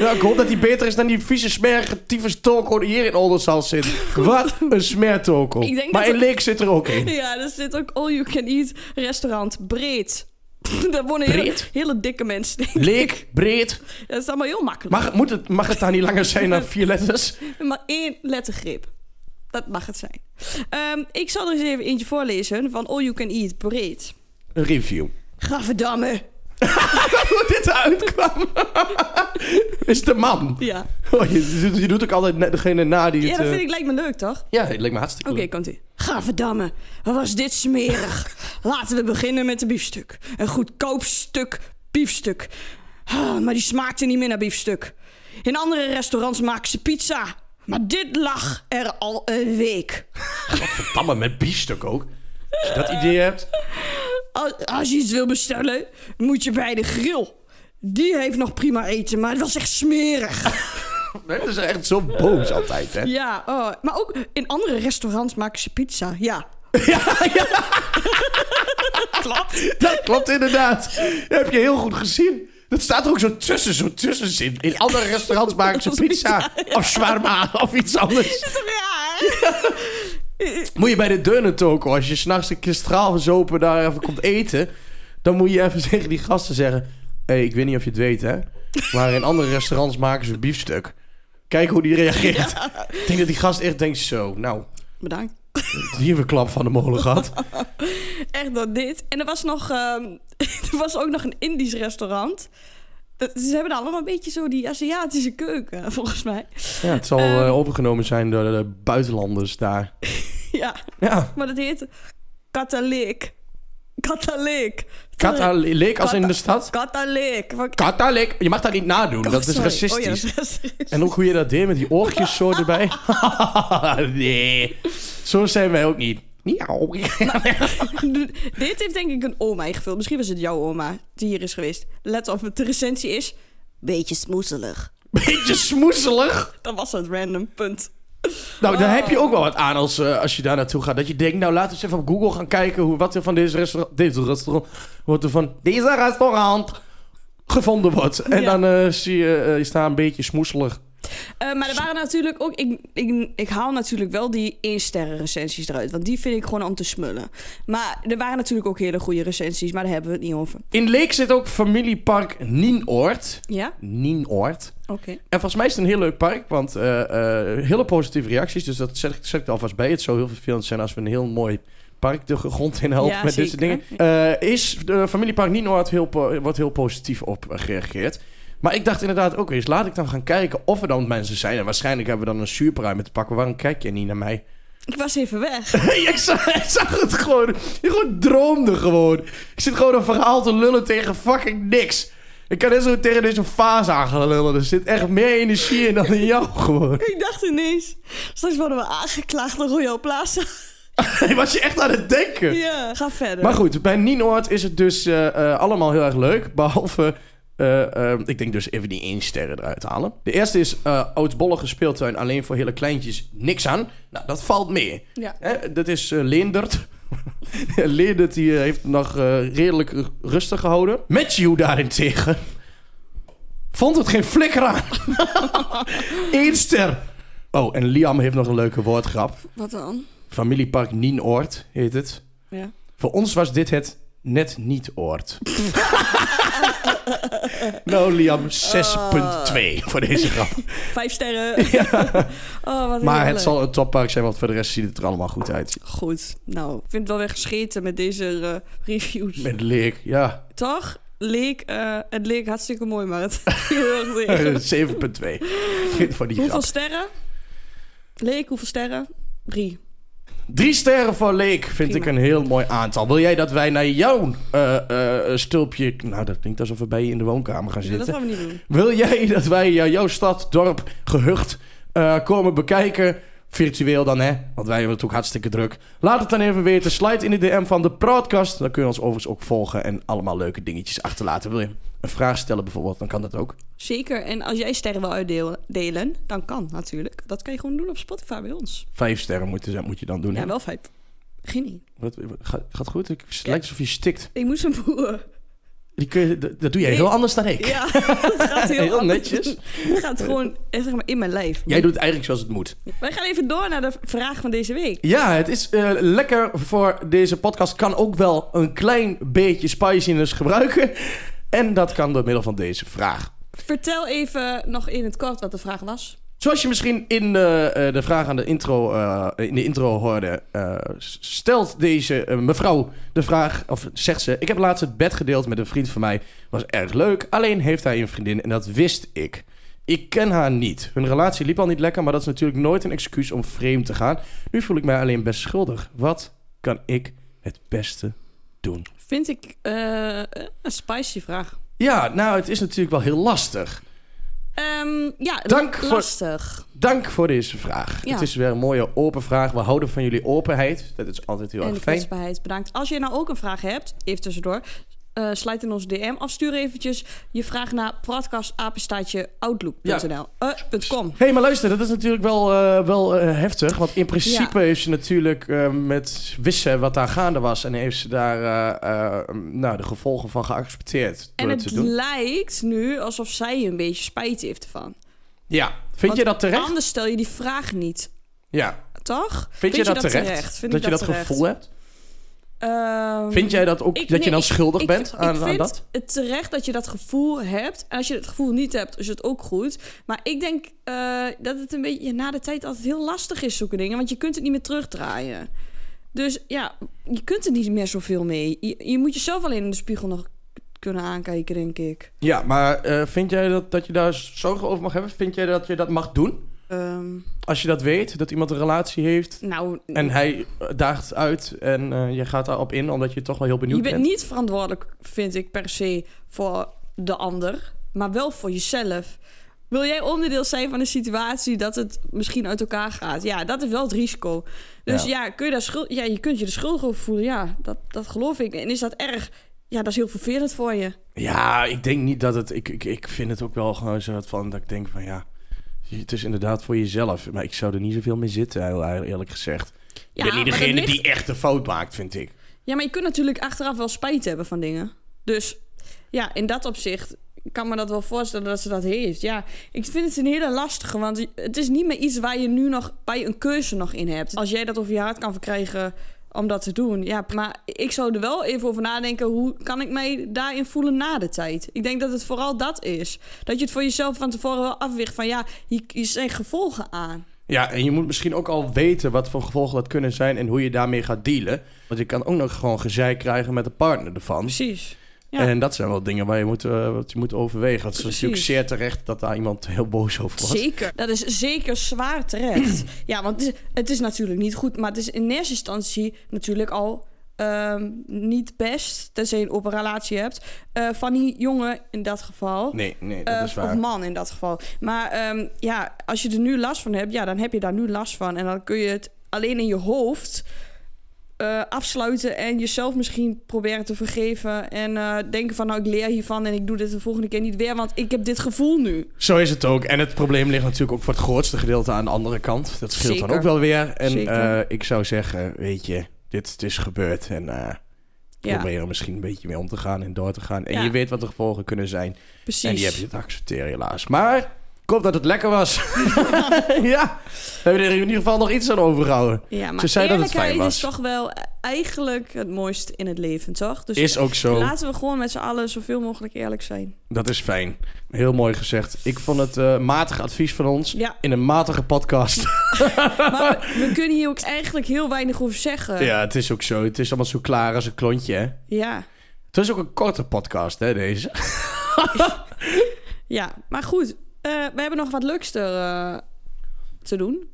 [SPEAKER 2] Nou, ik hoop dat die beter is dan die vieze smerige tyfus toko die hier in Oldenzaal
[SPEAKER 1] (laughs)
[SPEAKER 2] zit. Wat een smertoko.
[SPEAKER 1] Ik denk
[SPEAKER 2] Maar
[SPEAKER 1] dat
[SPEAKER 2] in Leek zit er
[SPEAKER 1] (laughs)
[SPEAKER 2] ook een.
[SPEAKER 1] (laughs) Ja, er zit ook all-you-can-eat restaurant breed. (laughs) daar wonen hele,
[SPEAKER 2] Breed?
[SPEAKER 1] hele dikke mensen. (laughs) denk ik.
[SPEAKER 2] Leek, breed.
[SPEAKER 1] Dat is allemaal heel makkelijk.
[SPEAKER 2] Mag, moet het, mag het daar niet langer zijn dan vier letters?
[SPEAKER 1] Maar één lettergrip. Dat mag het zijn. Ehm, ik zal er eens even eentje voorlezen van All You Can Eat Breed.
[SPEAKER 2] Een review. (laughs)
[SPEAKER 1] Gravendamme.
[SPEAKER 2] Hoe dit eruit kwam. (laughs) is de man.
[SPEAKER 1] Ja.
[SPEAKER 2] Oh, je, doet- je doet ook altijd net degene na die
[SPEAKER 1] ja,
[SPEAKER 2] het...
[SPEAKER 1] dat
[SPEAKER 2] eh,
[SPEAKER 1] vind ik lijkt me leuk, toch? Oké,
[SPEAKER 2] Ja, het lijkt me hartstikke leuk.
[SPEAKER 1] komt ie. Gravendamme. Wat was dit smerig? Laten we beginnen met de biefstuk. Een goedkoop stuk biefstuk. Ah, maar die smaakte niet meer naar biefstuk. In andere restaurants maken ze pizza. Maar dit lag er al een week.
[SPEAKER 2] Tamme met biefstuk ook. Als je dat idee hebt.
[SPEAKER 1] Als, als je iets wil bestellen, moet je bij de grill. Die heeft nog prima eten, maar het was echt smerig. (laughs)
[SPEAKER 2] Dat is echt zo boos altijd, hè?
[SPEAKER 1] Ja, oh, maar ook in andere restaurants maken ze pizza. Ja.
[SPEAKER 2] (laughs)
[SPEAKER 1] (laughs)
[SPEAKER 2] Dat klopt inderdaad. Dat heb je heel goed gezien. Dat staat er ook zo tussen, zo tussenzin. In andere restaurants maken ze pizza of shawarma of iets anders.
[SPEAKER 1] (laughs) is toch raar?
[SPEAKER 2] Moet je bij de deunentoko, als je s'nachts een keer straalverzopen daar even komt eten... dan moet je even (laughs) tegen die gasten zeggen... Hé, hey, ik weet niet of je het weet, hè? Maar in andere restaurants maken ze biefstuk. Kijk hoe die reageert. Ik denk dat die gast echt denkt zo... Nou,
[SPEAKER 1] Bedankt.
[SPEAKER 2] hier hebben we klap van de molen gehad.
[SPEAKER 1] Echt dan dit. En er was nog... ehm, (laughs) er was ook nog een Indisch restaurant. Dat- ze hebben daar allemaal een beetje zo die Aziatische keuken, (laughs) volgens mij.
[SPEAKER 2] Ja, het zal
[SPEAKER 1] Ehm.
[SPEAKER 2] eh, overgenomen zijn door de buitenlanders daar.
[SPEAKER 1] Ja,
[SPEAKER 2] Ja,
[SPEAKER 1] maar dat heet... Katalik. Katalik.
[SPEAKER 2] katalik als in de
[SPEAKER 1] Kata-
[SPEAKER 2] stad.
[SPEAKER 1] Katalik. Wat-
[SPEAKER 2] Katalik, je mag dat niet nadoen,
[SPEAKER 1] Oh,
[SPEAKER 2] dat is
[SPEAKER 1] sorry.
[SPEAKER 2] racistisch.
[SPEAKER 1] Oh ja, dat is racistisch.
[SPEAKER 2] (laughs) En ook hoe je dat deed met die oortjes zo
[SPEAKER 1] (laughs)
[SPEAKER 2] erbij. (laughs) nee, zo zijn wij ook niet. Miauw. (laughs)
[SPEAKER 1] (laughs) Dit heeft denk ik een oma ingevuld. Misschien was het jouw oma die hier is geweest. Let op, de recensie is... Beetje smoezelig.
[SPEAKER 2] Beetje smoezelig.
[SPEAKER 1] Dat was het random punt.
[SPEAKER 2] Nou, daar heb je ook wel wat aan als, eh, als je daar naartoe gaat. Dat je denkt, nou laten we eens even op Google gaan kijken... Hoe, wat er van deze restaurant... Deze restaurant... Wat er van deze restaurant gevonden wordt. En
[SPEAKER 1] Ja.
[SPEAKER 2] dan eh, zie je, eh, je staat een beetje smoezelig.
[SPEAKER 1] Eh, maar er waren natuurlijk ook... Ik, ik, ik haal natuurlijk wel die 1-sterren recensies eruit. Want die vind ik gewoon om te smullen. Maar er waren natuurlijk ook hele goede recensies. Maar daar hebben we het niet over.
[SPEAKER 2] In Leek zit ook familiepark Nienoord.
[SPEAKER 1] Ja?
[SPEAKER 2] Nienoord.
[SPEAKER 1] Oké.
[SPEAKER 2] En volgens mij is het een heel leuk park, want eh, eh, hele positieve reacties. Dus dat zet, ik- zet ik er alvast bij. Het zou heel vervelend zijn als we een heel mooi park de grond in helpen
[SPEAKER 1] Ja,
[SPEAKER 2] met dit soort
[SPEAKER 1] zeker.
[SPEAKER 2] dingen. Eh, is de familiepark Nienoord heel, po- wordt heel positief op gereageerd. Maar ik dacht inderdaad ook eens, laat ik dan gaan kijken of er dan mensen zijn. En waarschijnlijk hebben we dan een zuurpruim te pakken. Waarom kijk je niet naar mij?
[SPEAKER 1] Ik was even weg.
[SPEAKER 2] ik, zag, (laughs) ik zag het gewoon. Je gewoon droomde gewoon. Ik zit gewoon een verhaal te lullen tegen fucking niks. Ik kan net zo tegen deze fase aan gaan lullen. Er zit echt meer energie in dan in jou gewoon.
[SPEAKER 1] (laughs)
[SPEAKER 2] (laughs)
[SPEAKER 1] ik dacht ineens... Straks worden we aangeklaagd door Royal Plaza.
[SPEAKER 2] Was je echt aan het denken?
[SPEAKER 1] ja. Ga verder.
[SPEAKER 2] Maar goed, bij Nienoord is het dus eh, eh, allemaal heel erg leuk. (laughs) Behalve, eh, eh, ik denk dus even die één sterren eruit halen. De eerste is eh Oudbollige speeltuin alleen voor hele kleintjes. Niks aan. Nou, dat valt mee.
[SPEAKER 1] Ja.
[SPEAKER 2] Hè, dat is eh, Leendert. (laughs) Leendert die, eh, heeft het nog eh, redelijk rustig gehouden. Matthew daarentegen vond het geen flikker aan.
[SPEAKER 1] (laughs)
[SPEAKER 2] Eén ster. Oh, en Liam heeft nog een leuke woordgrap.
[SPEAKER 1] Wat dan?
[SPEAKER 2] Familiepark Nienoord heet het.
[SPEAKER 1] Ja.
[SPEAKER 2] Voor ons was dit het net niet
[SPEAKER 1] (laughs)
[SPEAKER 2] oord. nou, Liam, 6.2
[SPEAKER 1] Ah.
[SPEAKER 2] voor deze
[SPEAKER 1] (laughs)
[SPEAKER 2] grap.
[SPEAKER 1] Vijf sterren.
[SPEAKER 2] (laughs)
[SPEAKER 1] oh, wat
[SPEAKER 2] Maar het
[SPEAKER 1] heerlijk.
[SPEAKER 2] zal een toppark zijn, want voor de rest ziet het er allemaal goed uit.
[SPEAKER 1] Goed, nou, ik vind het wel weer gescheten met deze eh, reviews.
[SPEAKER 2] Met leek, ja. (laughs)
[SPEAKER 1] Toch? Leek, eh, het leek hartstikke mooi, maar het (laughs) heel erg
[SPEAKER 2] (laughs)
[SPEAKER 1] leeg.
[SPEAKER 2] 7.2 voor die
[SPEAKER 1] Hoeveel
[SPEAKER 2] grap.
[SPEAKER 1] sterren? Leek, hoeveel sterren? Drie.
[SPEAKER 2] Drie sterren voor Leek vind
[SPEAKER 1] Prima.
[SPEAKER 2] ik een heel mooi aantal. Wil jij dat wij naar jouw eh, eh, stulpje... Nou, dat klinkt alsof we bij je in de woonkamer gaan
[SPEAKER 1] Ja, dat
[SPEAKER 2] zitten.
[SPEAKER 1] gaan we niet doen.
[SPEAKER 2] Wil jij dat wij eh, jouw stad, dorp, gehucht eh, komen bekijken? Virtueel dan, hè? Want wij hebben het ook hartstikke druk. Laat het dan even weten. Slide in de DM van de podcast. Dan kun je ons overigens ook volgen en allemaal leuke dingetjes achterlaten. Wil je een vraag stellen bijvoorbeeld, dan kan dat ook.
[SPEAKER 1] Zeker, en als jij sterren wil uitdelen, dan kan natuurlijk. Dat kan je gewoon doen op Spotify bij ons.
[SPEAKER 2] Vijf sterren moet, je- moet je dan doen, hè?
[SPEAKER 1] Ja, wel vijf. Geen idee.
[SPEAKER 2] Wat, wat- gaat, gaat goed? Ik, het lijkt alsof je stikt.
[SPEAKER 1] Ik moest een boer.
[SPEAKER 2] Die kun je, dat, dat doe jij
[SPEAKER 1] Nee.
[SPEAKER 2] heel anders dan
[SPEAKER 1] (laughs)
[SPEAKER 2] ik.
[SPEAKER 1] Ja, dat gaat heel,
[SPEAKER 2] Heel
[SPEAKER 1] anders.
[SPEAKER 2] netjes.
[SPEAKER 1] Het gaat gewoon eh, zeg maar, in mijn lijf.
[SPEAKER 2] Jij doet het eigenlijk zoals het moet.
[SPEAKER 1] Wij gaan even door naar de vraag van deze week.
[SPEAKER 2] Ja, het is eh, lekker voor deze podcast. Kan ook wel een klein beetje spiciness gebruiken. En dat kan door middel van deze vraag.
[SPEAKER 1] Vertel even nog in het kort wat de vraag was.
[SPEAKER 2] Zoals je misschien in eh, eh, de vraag aan de intro, eh, in de intro hoorde, eh, s- stelt deze eh, mevrouw de vraag, of zegt ze: Ik heb laatst het bed gedeeld met een vriend van mij. Was erg leuk, alleen heeft hij een vriendin en dat wist ik. Ik ken haar niet. Hun relatie liep al niet lekker, maar dat is natuurlijk nooit een excuus om vreemd te gaan. Nu voel ik mij alleen best schuldig. Wat kan ik het beste doen?
[SPEAKER 1] Vind ik eh, een spicy vraag.
[SPEAKER 2] Ja, nou, het is natuurlijk wel heel lastig.
[SPEAKER 1] Ehm, ja,
[SPEAKER 2] Dank
[SPEAKER 1] la-
[SPEAKER 2] voor-
[SPEAKER 1] lastig.
[SPEAKER 2] Dank voor deze vraag.
[SPEAKER 1] Ja.
[SPEAKER 2] Het is weer een mooie open vraag. We houden van jullie openheid. Dat is altijd heel
[SPEAKER 1] En de
[SPEAKER 2] erg fijn.
[SPEAKER 1] kwetsbaarheid bedankt. Als je nou ook een vraag hebt, even tussendoor... eh, slijt in ons DM of stuur eventjes je vraag naar podcastapenstaatjeoutlook.nl. Eh, .com.
[SPEAKER 2] Hé, hey, maar luister, dat is natuurlijk wel, eh, wel eh, heftig. Want in principe heeft ze natuurlijk eh, met wissen wat daar gaande was. En heeft ze daar eh, eh, nou, de gevolgen van geaccepteerd. Door
[SPEAKER 1] En
[SPEAKER 2] het
[SPEAKER 1] het
[SPEAKER 2] te doen.
[SPEAKER 1] lijkt nu alsof zij een beetje spijt heeft ervan.
[SPEAKER 2] Ja, vind
[SPEAKER 1] Want
[SPEAKER 2] je dat terecht?
[SPEAKER 1] Anders stel je die vraag niet,
[SPEAKER 2] Ja,
[SPEAKER 1] toch?
[SPEAKER 2] vind, je, dat, terecht?
[SPEAKER 1] Vind
[SPEAKER 2] dat
[SPEAKER 1] ik
[SPEAKER 2] je dat
[SPEAKER 1] terecht.
[SPEAKER 2] gevoel hebt?
[SPEAKER 1] Ehm,
[SPEAKER 2] Vind jij dat ook,
[SPEAKER 1] ik-
[SPEAKER 2] dat je
[SPEAKER 1] nee,
[SPEAKER 2] dan
[SPEAKER 1] ik-
[SPEAKER 2] schuldig
[SPEAKER 1] ik-
[SPEAKER 2] bent aan,
[SPEAKER 1] ik
[SPEAKER 2] aan
[SPEAKER 1] vind
[SPEAKER 2] dat?
[SPEAKER 1] Het terecht dat je dat gevoel hebt. En als je het gevoel niet hebt, is het ook goed. Maar ik denk eh, dat het een beetje na de tijd altijd heel lastig is, zulke dingen. Want je kunt het niet meer terugdraaien. Dus ja, je kunt er niet meer zoveel mee. Je, je moet jezelf alleen in de spiegel nog kunnen aankijken, denk ik.
[SPEAKER 2] Ja, maar eh, vind jij dat, dat je daar zorgen over mag hebben? Vind jij dat je dat mag doen?
[SPEAKER 1] Ehm,
[SPEAKER 2] Als je dat weet, dat iemand een relatie heeft
[SPEAKER 1] nou,
[SPEAKER 2] en hij eh, daagt uit en eh, je gaat daarop in omdat je toch wel heel benieuwd
[SPEAKER 1] je bent
[SPEAKER 2] bent.
[SPEAKER 1] niet verantwoordelijk, vind ik, per se voor de ander, maar wel voor jezelf. Wil jij onderdeel zijn van een situatie dat het misschien uit elkaar gaat? Ja, dat is wel het risico. Dus ja, kun je, daar schuld, ja je kunt je de schuldig over voelen. Ja, dat, dat geloof ik. En is dat erg? Ja, dat is heel vervelend voor je.
[SPEAKER 2] Ja, ik denk niet dat het. Ik, ik, ik vind het ook wel gewoon zo van dat ik denk van ja. Het is inderdaad voor jezelf. Maar ik zou er niet zoveel mee zitten, heel e- eerlijk gezegd.
[SPEAKER 1] Ja,
[SPEAKER 2] ik ben niet
[SPEAKER 1] maar dat
[SPEAKER 2] degene
[SPEAKER 1] ligt-
[SPEAKER 2] die echt de fout maakt, vind ik.
[SPEAKER 1] Ja, maar je kunt natuurlijk achteraf wel spijt hebben van dingen. Dus ja, in dat opzicht kan me dat wel voorstellen dat ze dat heeft. Ja, ik vind het een hele lastige, want het is niet meer iets waar je nu nog bij een keuze nog in hebt. Als jij dat over je hart kan verkrijgen om dat te doen, ja, maar ik zou er wel even over nadenken hoe kan ik mij daarin voelen na de tijd. Ik denk dat het vooral dat is, dat je het voor jezelf van tevoren wel afweegt van ja, hier hier zijn gevolgen aan.
[SPEAKER 2] Ja, en je moet misschien ook al weten wat voor gevolgen dat kunnen zijn en hoe je daarmee gaat dealen. Want je kan ook nog gewoon gezeik krijgen met de partner ervan.
[SPEAKER 1] Precies. Ja.
[SPEAKER 2] En dat zijn wel dingen waar je moet, eh, wat je moet overwegen. Het is
[SPEAKER 1] Precies.
[SPEAKER 2] natuurlijk zeer terecht dat daar iemand heel boos over was.
[SPEAKER 1] Zeker. Dat is zeker zwaar terecht. (clears throat) ja, want het is, het is natuurlijk niet goed. Maar het is in eerste instantie natuurlijk al ehm, niet best. Tenzij je een open relatie hebt. eh, van die jongen in dat geval.
[SPEAKER 2] Nee, nee, dat
[SPEAKER 1] Eh,
[SPEAKER 2] is waar.
[SPEAKER 1] Of man in dat geval. Maar ehm, ja, als je er nu last van hebt, ja, dan heb je daar nu last van. En dan kun je het alleen in je hoofd eh, afsluiten en jezelf misschien proberen te vergeven. En eh, denken van, nou, ik leer hiervan en ik doe dit de volgende keer niet weer, want ik heb dit gevoel nu.
[SPEAKER 2] Zo is het ook. En het probleem ligt natuurlijk ook voor het grootste gedeelte aan de andere kant. Dat scheelt dan
[SPEAKER 1] Zeker.
[SPEAKER 2] ook wel weer. En
[SPEAKER 1] Zeker.
[SPEAKER 2] eh, ik zou zeggen, weet je, dit het is gebeurd. En eh
[SPEAKER 1] Ja,
[SPEAKER 2] probeer er misschien een beetje mee om te gaan en door te gaan. En
[SPEAKER 1] Ja.
[SPEAKER 2] je weet wat de gevolgen kunnen zijn.
[SPEAKER 1] precies.
[SPEAKER 2] En die heb je te accepteren helaas. Maar ik hoop dat het lekker was. (laughs) ja, we hebben er in ieder geval nog iets aan overgehouden.
[SPEAKER 1] Ja, maar
[SPEAKER 2] Ze zei dat het fijn
[SPEAKER 1] eerlijkheid
[SPEAKER 2] was.
[SPEAKER 1] is toch wel eigenlijk het mooiste in het leven, toch? Dus
[SPEAKER 2] Is ook zo.
[SPEAKER 1] laten we gewoon met z'n allen zoveel mogelijk eerlijk zijn.
[SPEAKER 2] Dat is fijn. Heel mooi gezegd. Ik vond het eh, matig advies van ons
[SPEAKER 1] Ja,
[SPEAKER 2] in een matige podcast. (laughs)
[SPEAKER 1] maar we, we kunnen hier ook eigenlijk heel weinig over zeggen.
[SPEAKER 2] ja, het is ook zo. Het is allemaal zo klaar als een klontje, hè?
[SPEAKER 1] ja.
[SPEAKER 2] Het is ook een korte podcast, hè, deze?
[SPEAKER 1] Ja, maar goed. eh, we hebben nog wat leuks er, eh, te doen.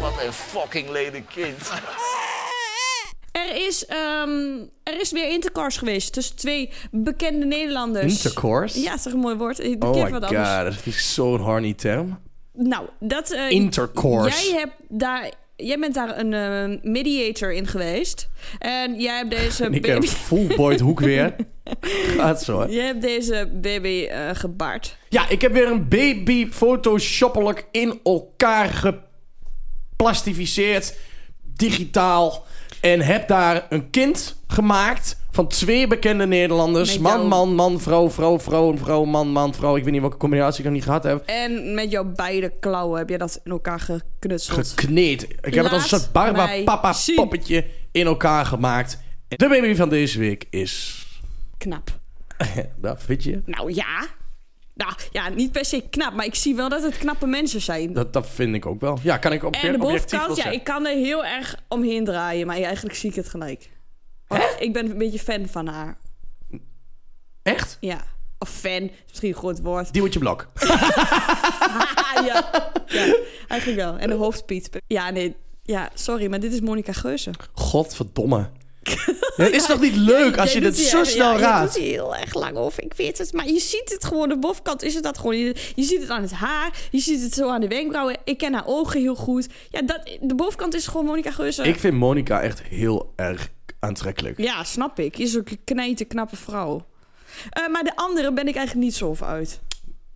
[SPEAKER 5] Wat een fucking lelijk kind.
[SPEAKER 1] Er is, ehm, er is weer intercourse geweest tussen twee bekende Nederlanders.
[SPEAKER 2] Intercourse?
[SPEAKER 1] Ja, dat is toch een mooi woord. Ik
[SPEAKER 2] Oh
[SPEAKER 1] keer
[SPEAKER 2] my
[SPEAKER 1] wat
[SPEAKER 2] god,
[SPEAKER 1] anders.
[SPEAKER 2] dat is zo'n horny term.
[SPEAKER 1] Nou, dat... eh,
[SPEAKER 2] Intercourse.
[SPEAKER 1] Jij, hebt daar, jij bent daar een eh, mediator in geweest. En jij hebt deze
[SPEAKER 2] (laughs) En ik heb
[SPEAKER 1] baby,
[SPEAKER 2] full-boyd hoek weer. Gaat zo, hè?
[SPEAKER 1] (laughs) jij hebt deze baby eh, gebaard.
[SPEAKER 2] Ja, ik heb weer een baby photoshoppelijk in elkaar geplastificeerd. Digitaal. En heb daar een kind gemaakt van twee bekende Nederlanders.
[SPEAKER 1] Met
[SPEAKER 2] man,
[SPEAKER 1] jou.
[SPEAKER 2] man, man, vrouw, vrouw, vrouw, vrouw, man, man, vrouw. Ik weet niet welke combinatie ik nog niet gehad heb.
[SPEAKER 1] En met jouw beide klauwen heb je dat in elkaar geknutseld.
[SPEAKER 2] gekneed. Ik heb het als een soort
[SPEAKER 1] Laat
[SPEAKER 2] Barba
[SPEAKER 1] mij
[SPEAKER 2] Papa
[SPEAKER 1] zien.
[SPEAKER 2] poppetje in elkaar gemaakt. De baby van deze week is...
[SPEAKER 1] (laughs) Knap.
[SPEAKER 2] Dat vind je?
[SPEAKER 1] Nou ja. Nou ja, niet per se knap, maar ik zie wel dat het knappe mensen zijn.
[SPEAKER 2] Dat, dat vind ik ook wel. Ja, kan ik op
[SPEAKER 1] en de
[SPEAKER 2] objectief wel
[SPEAKER 1] bovenkant, ja,
[SPEAKER 2] zeggen.
[SPEAKER 1] ik kan er heel erg omheen draaien, maar ja, eigenlijk zie ik het gelijk. Want Ik ben een beetje fan van haar.
[SPEAKER 2] Echt?
[SPEAKER 1] Ja. Of fan, is misschien een groot woord.
[SPEAKER 2] Duwtje Blok.
[SPEAKER 1] Ah, ja. ja, eigenlijk wel. En de hoofdpiet. Ja, nee. Ja, sorry, maar dit is Monica Geuze.
[SPEAKER 2] Godverdomme. (laughs) Ja, het is toch niet leuk als je
[SPEAKER 1] dat
[SPEAKER 2] dat zo snel
[SPEAKER 1] Dat
[SPEAKER 2] raadt?
[SPEAKER 1] doet hij heel erg lang of ik weet het. Maar je ziet het gewoon, de bovenkant is het dat gewoon. Je, je ziet het aan het haar, je ziet het zo aan de wenkbrauwen. Ik ken haar ogen heel goed. Ja, dat, de bovenkant is gewoon Monica Geuze.
[SPEAKER 2] Ik vind Monica echt heel erg aantrekkelijk.
[SPEAKER 1] Ja, snap ik. Is ook een knijte, knappe vrouw. Eh, maar de andere ben ik eigenlijk niet zo over uit.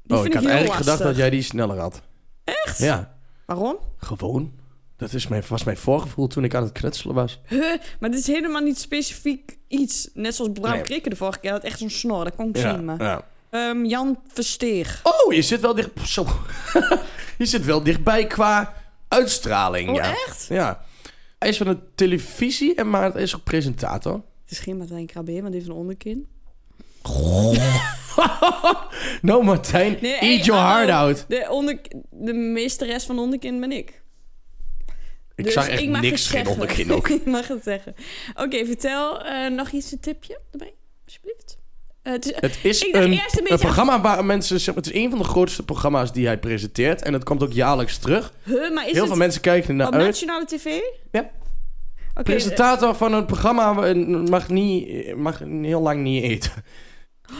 [SPEAKER 1] Die
[SPEAKER 2] oh,
[SPEAKER 1] vind
[SPEAKER 2] ik had
[SPEAKER 1] heel
[SPEAKER 2] eigenlijk
[SPEAKER 1] lastig.
[SPEAKER 2] gedacht dat jij die sneller had. Echt? Ja,
[SPEAKER 1] Waarom?
[SPEAKER 2] gewoon. Dat is mijn, was mijn voorgevoel toen ik aan het knutselen was.
[SPEAKER 1] Huh, (laughs) maar dit is helemaal niet specifiek iets. Net zoals Bram
[SPEAKER 2] Nee.
[SPEAKER 1] Krikke de vorige keer had echt zo'n snor. Dat kon ik
[SPEAKER 2] Ja,
[SPEAKER 1] zien, maar...
[SPEAKER 2] ja.
[SPEAKER 1] Ehm, Jan Versteeg.
[SPEAKER 2] Oh, je zit wel dicht... Zo. (laughs) je zit wel dichtbij qua uitstraling.
[SPEAKER 1] Oh,
[SPEAKER 2] ja.
[SPEAKER 1] echt?
[SPEAKER 2] Ja. Hij is van de televisie, en maar hij is ook presentator.
[SPEAKER 1] Het is geen Martijn Krabbe, want die heeft een onderkin.
[SPEAKER 2] No, Nou, Martijn,
[SPEAKER 1] Nee,
[SPEAKER 2] eat
[SPEAKER 1] hey,
[SPEAKER 2] your
[SPEAKER 1] hallo.
[SPEAKER 2] heart out.
[SPEAKER 1] De, onder, de meesteres van onderkin ben ik.
[SPEAKER 2] Ik
[SPEAKER 1] Dus
[SPEAKER 2] zag echt
[SPEAKER 1] mag
[SPEAKER 2] niks,
[SPEAKER 1] het
[SPEAKER 2] geen
[SPEAKER 1] zeggen.
[SPEAKER 2] onderkin ook.
[SPEAKER 1] (laughs) ik mag het zeggen. Oké, vertel eh, nog iets, een tipje erbij, alsjeblieft. Eh, het is-
[SPEAKER 2] Het is
[SPEAKER 1] Ik
[SPEAKER 2] een,
[SPEAKER 1] dacht eerst een beetje
[SPEAKER 2] een programma waar mensen... zeg maar, Het is een van de grootste programma's die hij presenteert. En dat komt ook jaarlijks terug.
[SPEAKER 1] huh, maar is
[SPEAKER 2] Heel
[SPEAKER 1] het
[SPEAKER 2] veel mensen kijken er naar
[SPEAKER 1] op
[SPEAKER 2] uit.
[SPEAKER 1] nationale tv?
[SPEAKER 2] Ja.
[SPEAKER 1] Oké,
[SPEAKER 2] Presentator van een programma eh, mag, niet, mag heel lang niet eten.
[SPEAKER 1] eh,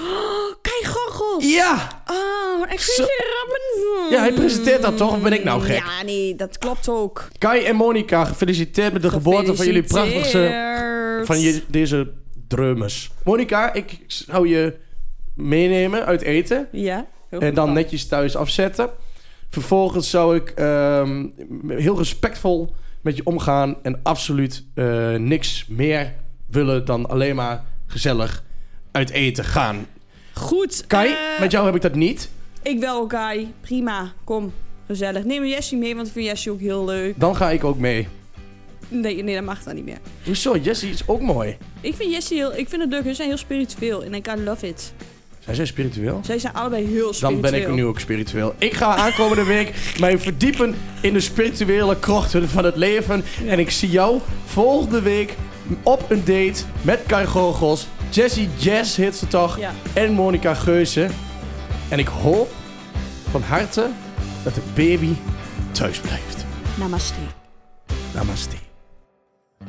[SPEAKER 1] Kai Gorgels!
[SPEAKER 2] Ja!
[SPEAKER 1] Oh, ik
[SPEAKER 2] Zo-
[SPEAKER 1] vind je rappen.
[SPEAKER 2] Ja, hij presenteert dat toch? Of ben ik nou gek?
[SPEAKER 1] Ja, nee, dat klopt ook.
[SPEAKER 2] Kai en Monica, gefeliciteerd met de geboorte van jullie prachtigste...
[SPEAKER 1] Gefeliciteerd.
[SPEAKER 2] Van je, deze drummes. Monica, ik zou je meenemen uit eten.
[SPEAKER 1] Ja. heel
[SPEAKER 2] En
[SPEAKER 1] goed.
[SPEAKER 2] dan netjes thuis afzetten. Vervolgens zou ik ehm, heel respectvol met je omgaan. En absoluut eh, niks meer willen dan alleen maar gezellig uit eten gaan.
[SPEAKER 1] Goed.
[SPEAKER 2] Kai,
[SPEAKER 1] eh,
[SPEAKER 2] met jou heb ik dat niet.
[SPEAKER 1] Ik wel, Kai. Prima. Kom. Gezellig. Neem Jessie mee, want ik vind Jessie ook heel leuk.
[SPEAKER 2] Dan ga ik ook mee.
[SPEAKER 1] Nee, nee, dat mag dan niet meer.
[SPEAKER 2] Hoezo? Jessie is ook mooi.
[SPEAKER 1] Ik vind Jessie heel... Ik vind het leuk. Ze zijn heel spiritueel. En ik I love it.
[SPEAKER 2] Zijn zij spiritueel?
[SPEAKER 1] Zij zijn allebei heel
[SPEAKER 2] Dan
[SPEAKER 1] spiritueel.
[SPEAKER 2] ben ik nu ook spiritueel. Ik ga aankomende week mij verdiepen in de spirituele krochten van het leven. En ik zie jou volgende week op een date met Kai Gorgels, Jessie Jazz heet ze toch,
[SPEAKER 1] Ja.
[SPEAKER 2] en Monica Geuze. En ik hoop van harte dat de baby thuis blijft.
[SPEAKER 1] Namaste.
[SPEAKER 2] Namaste.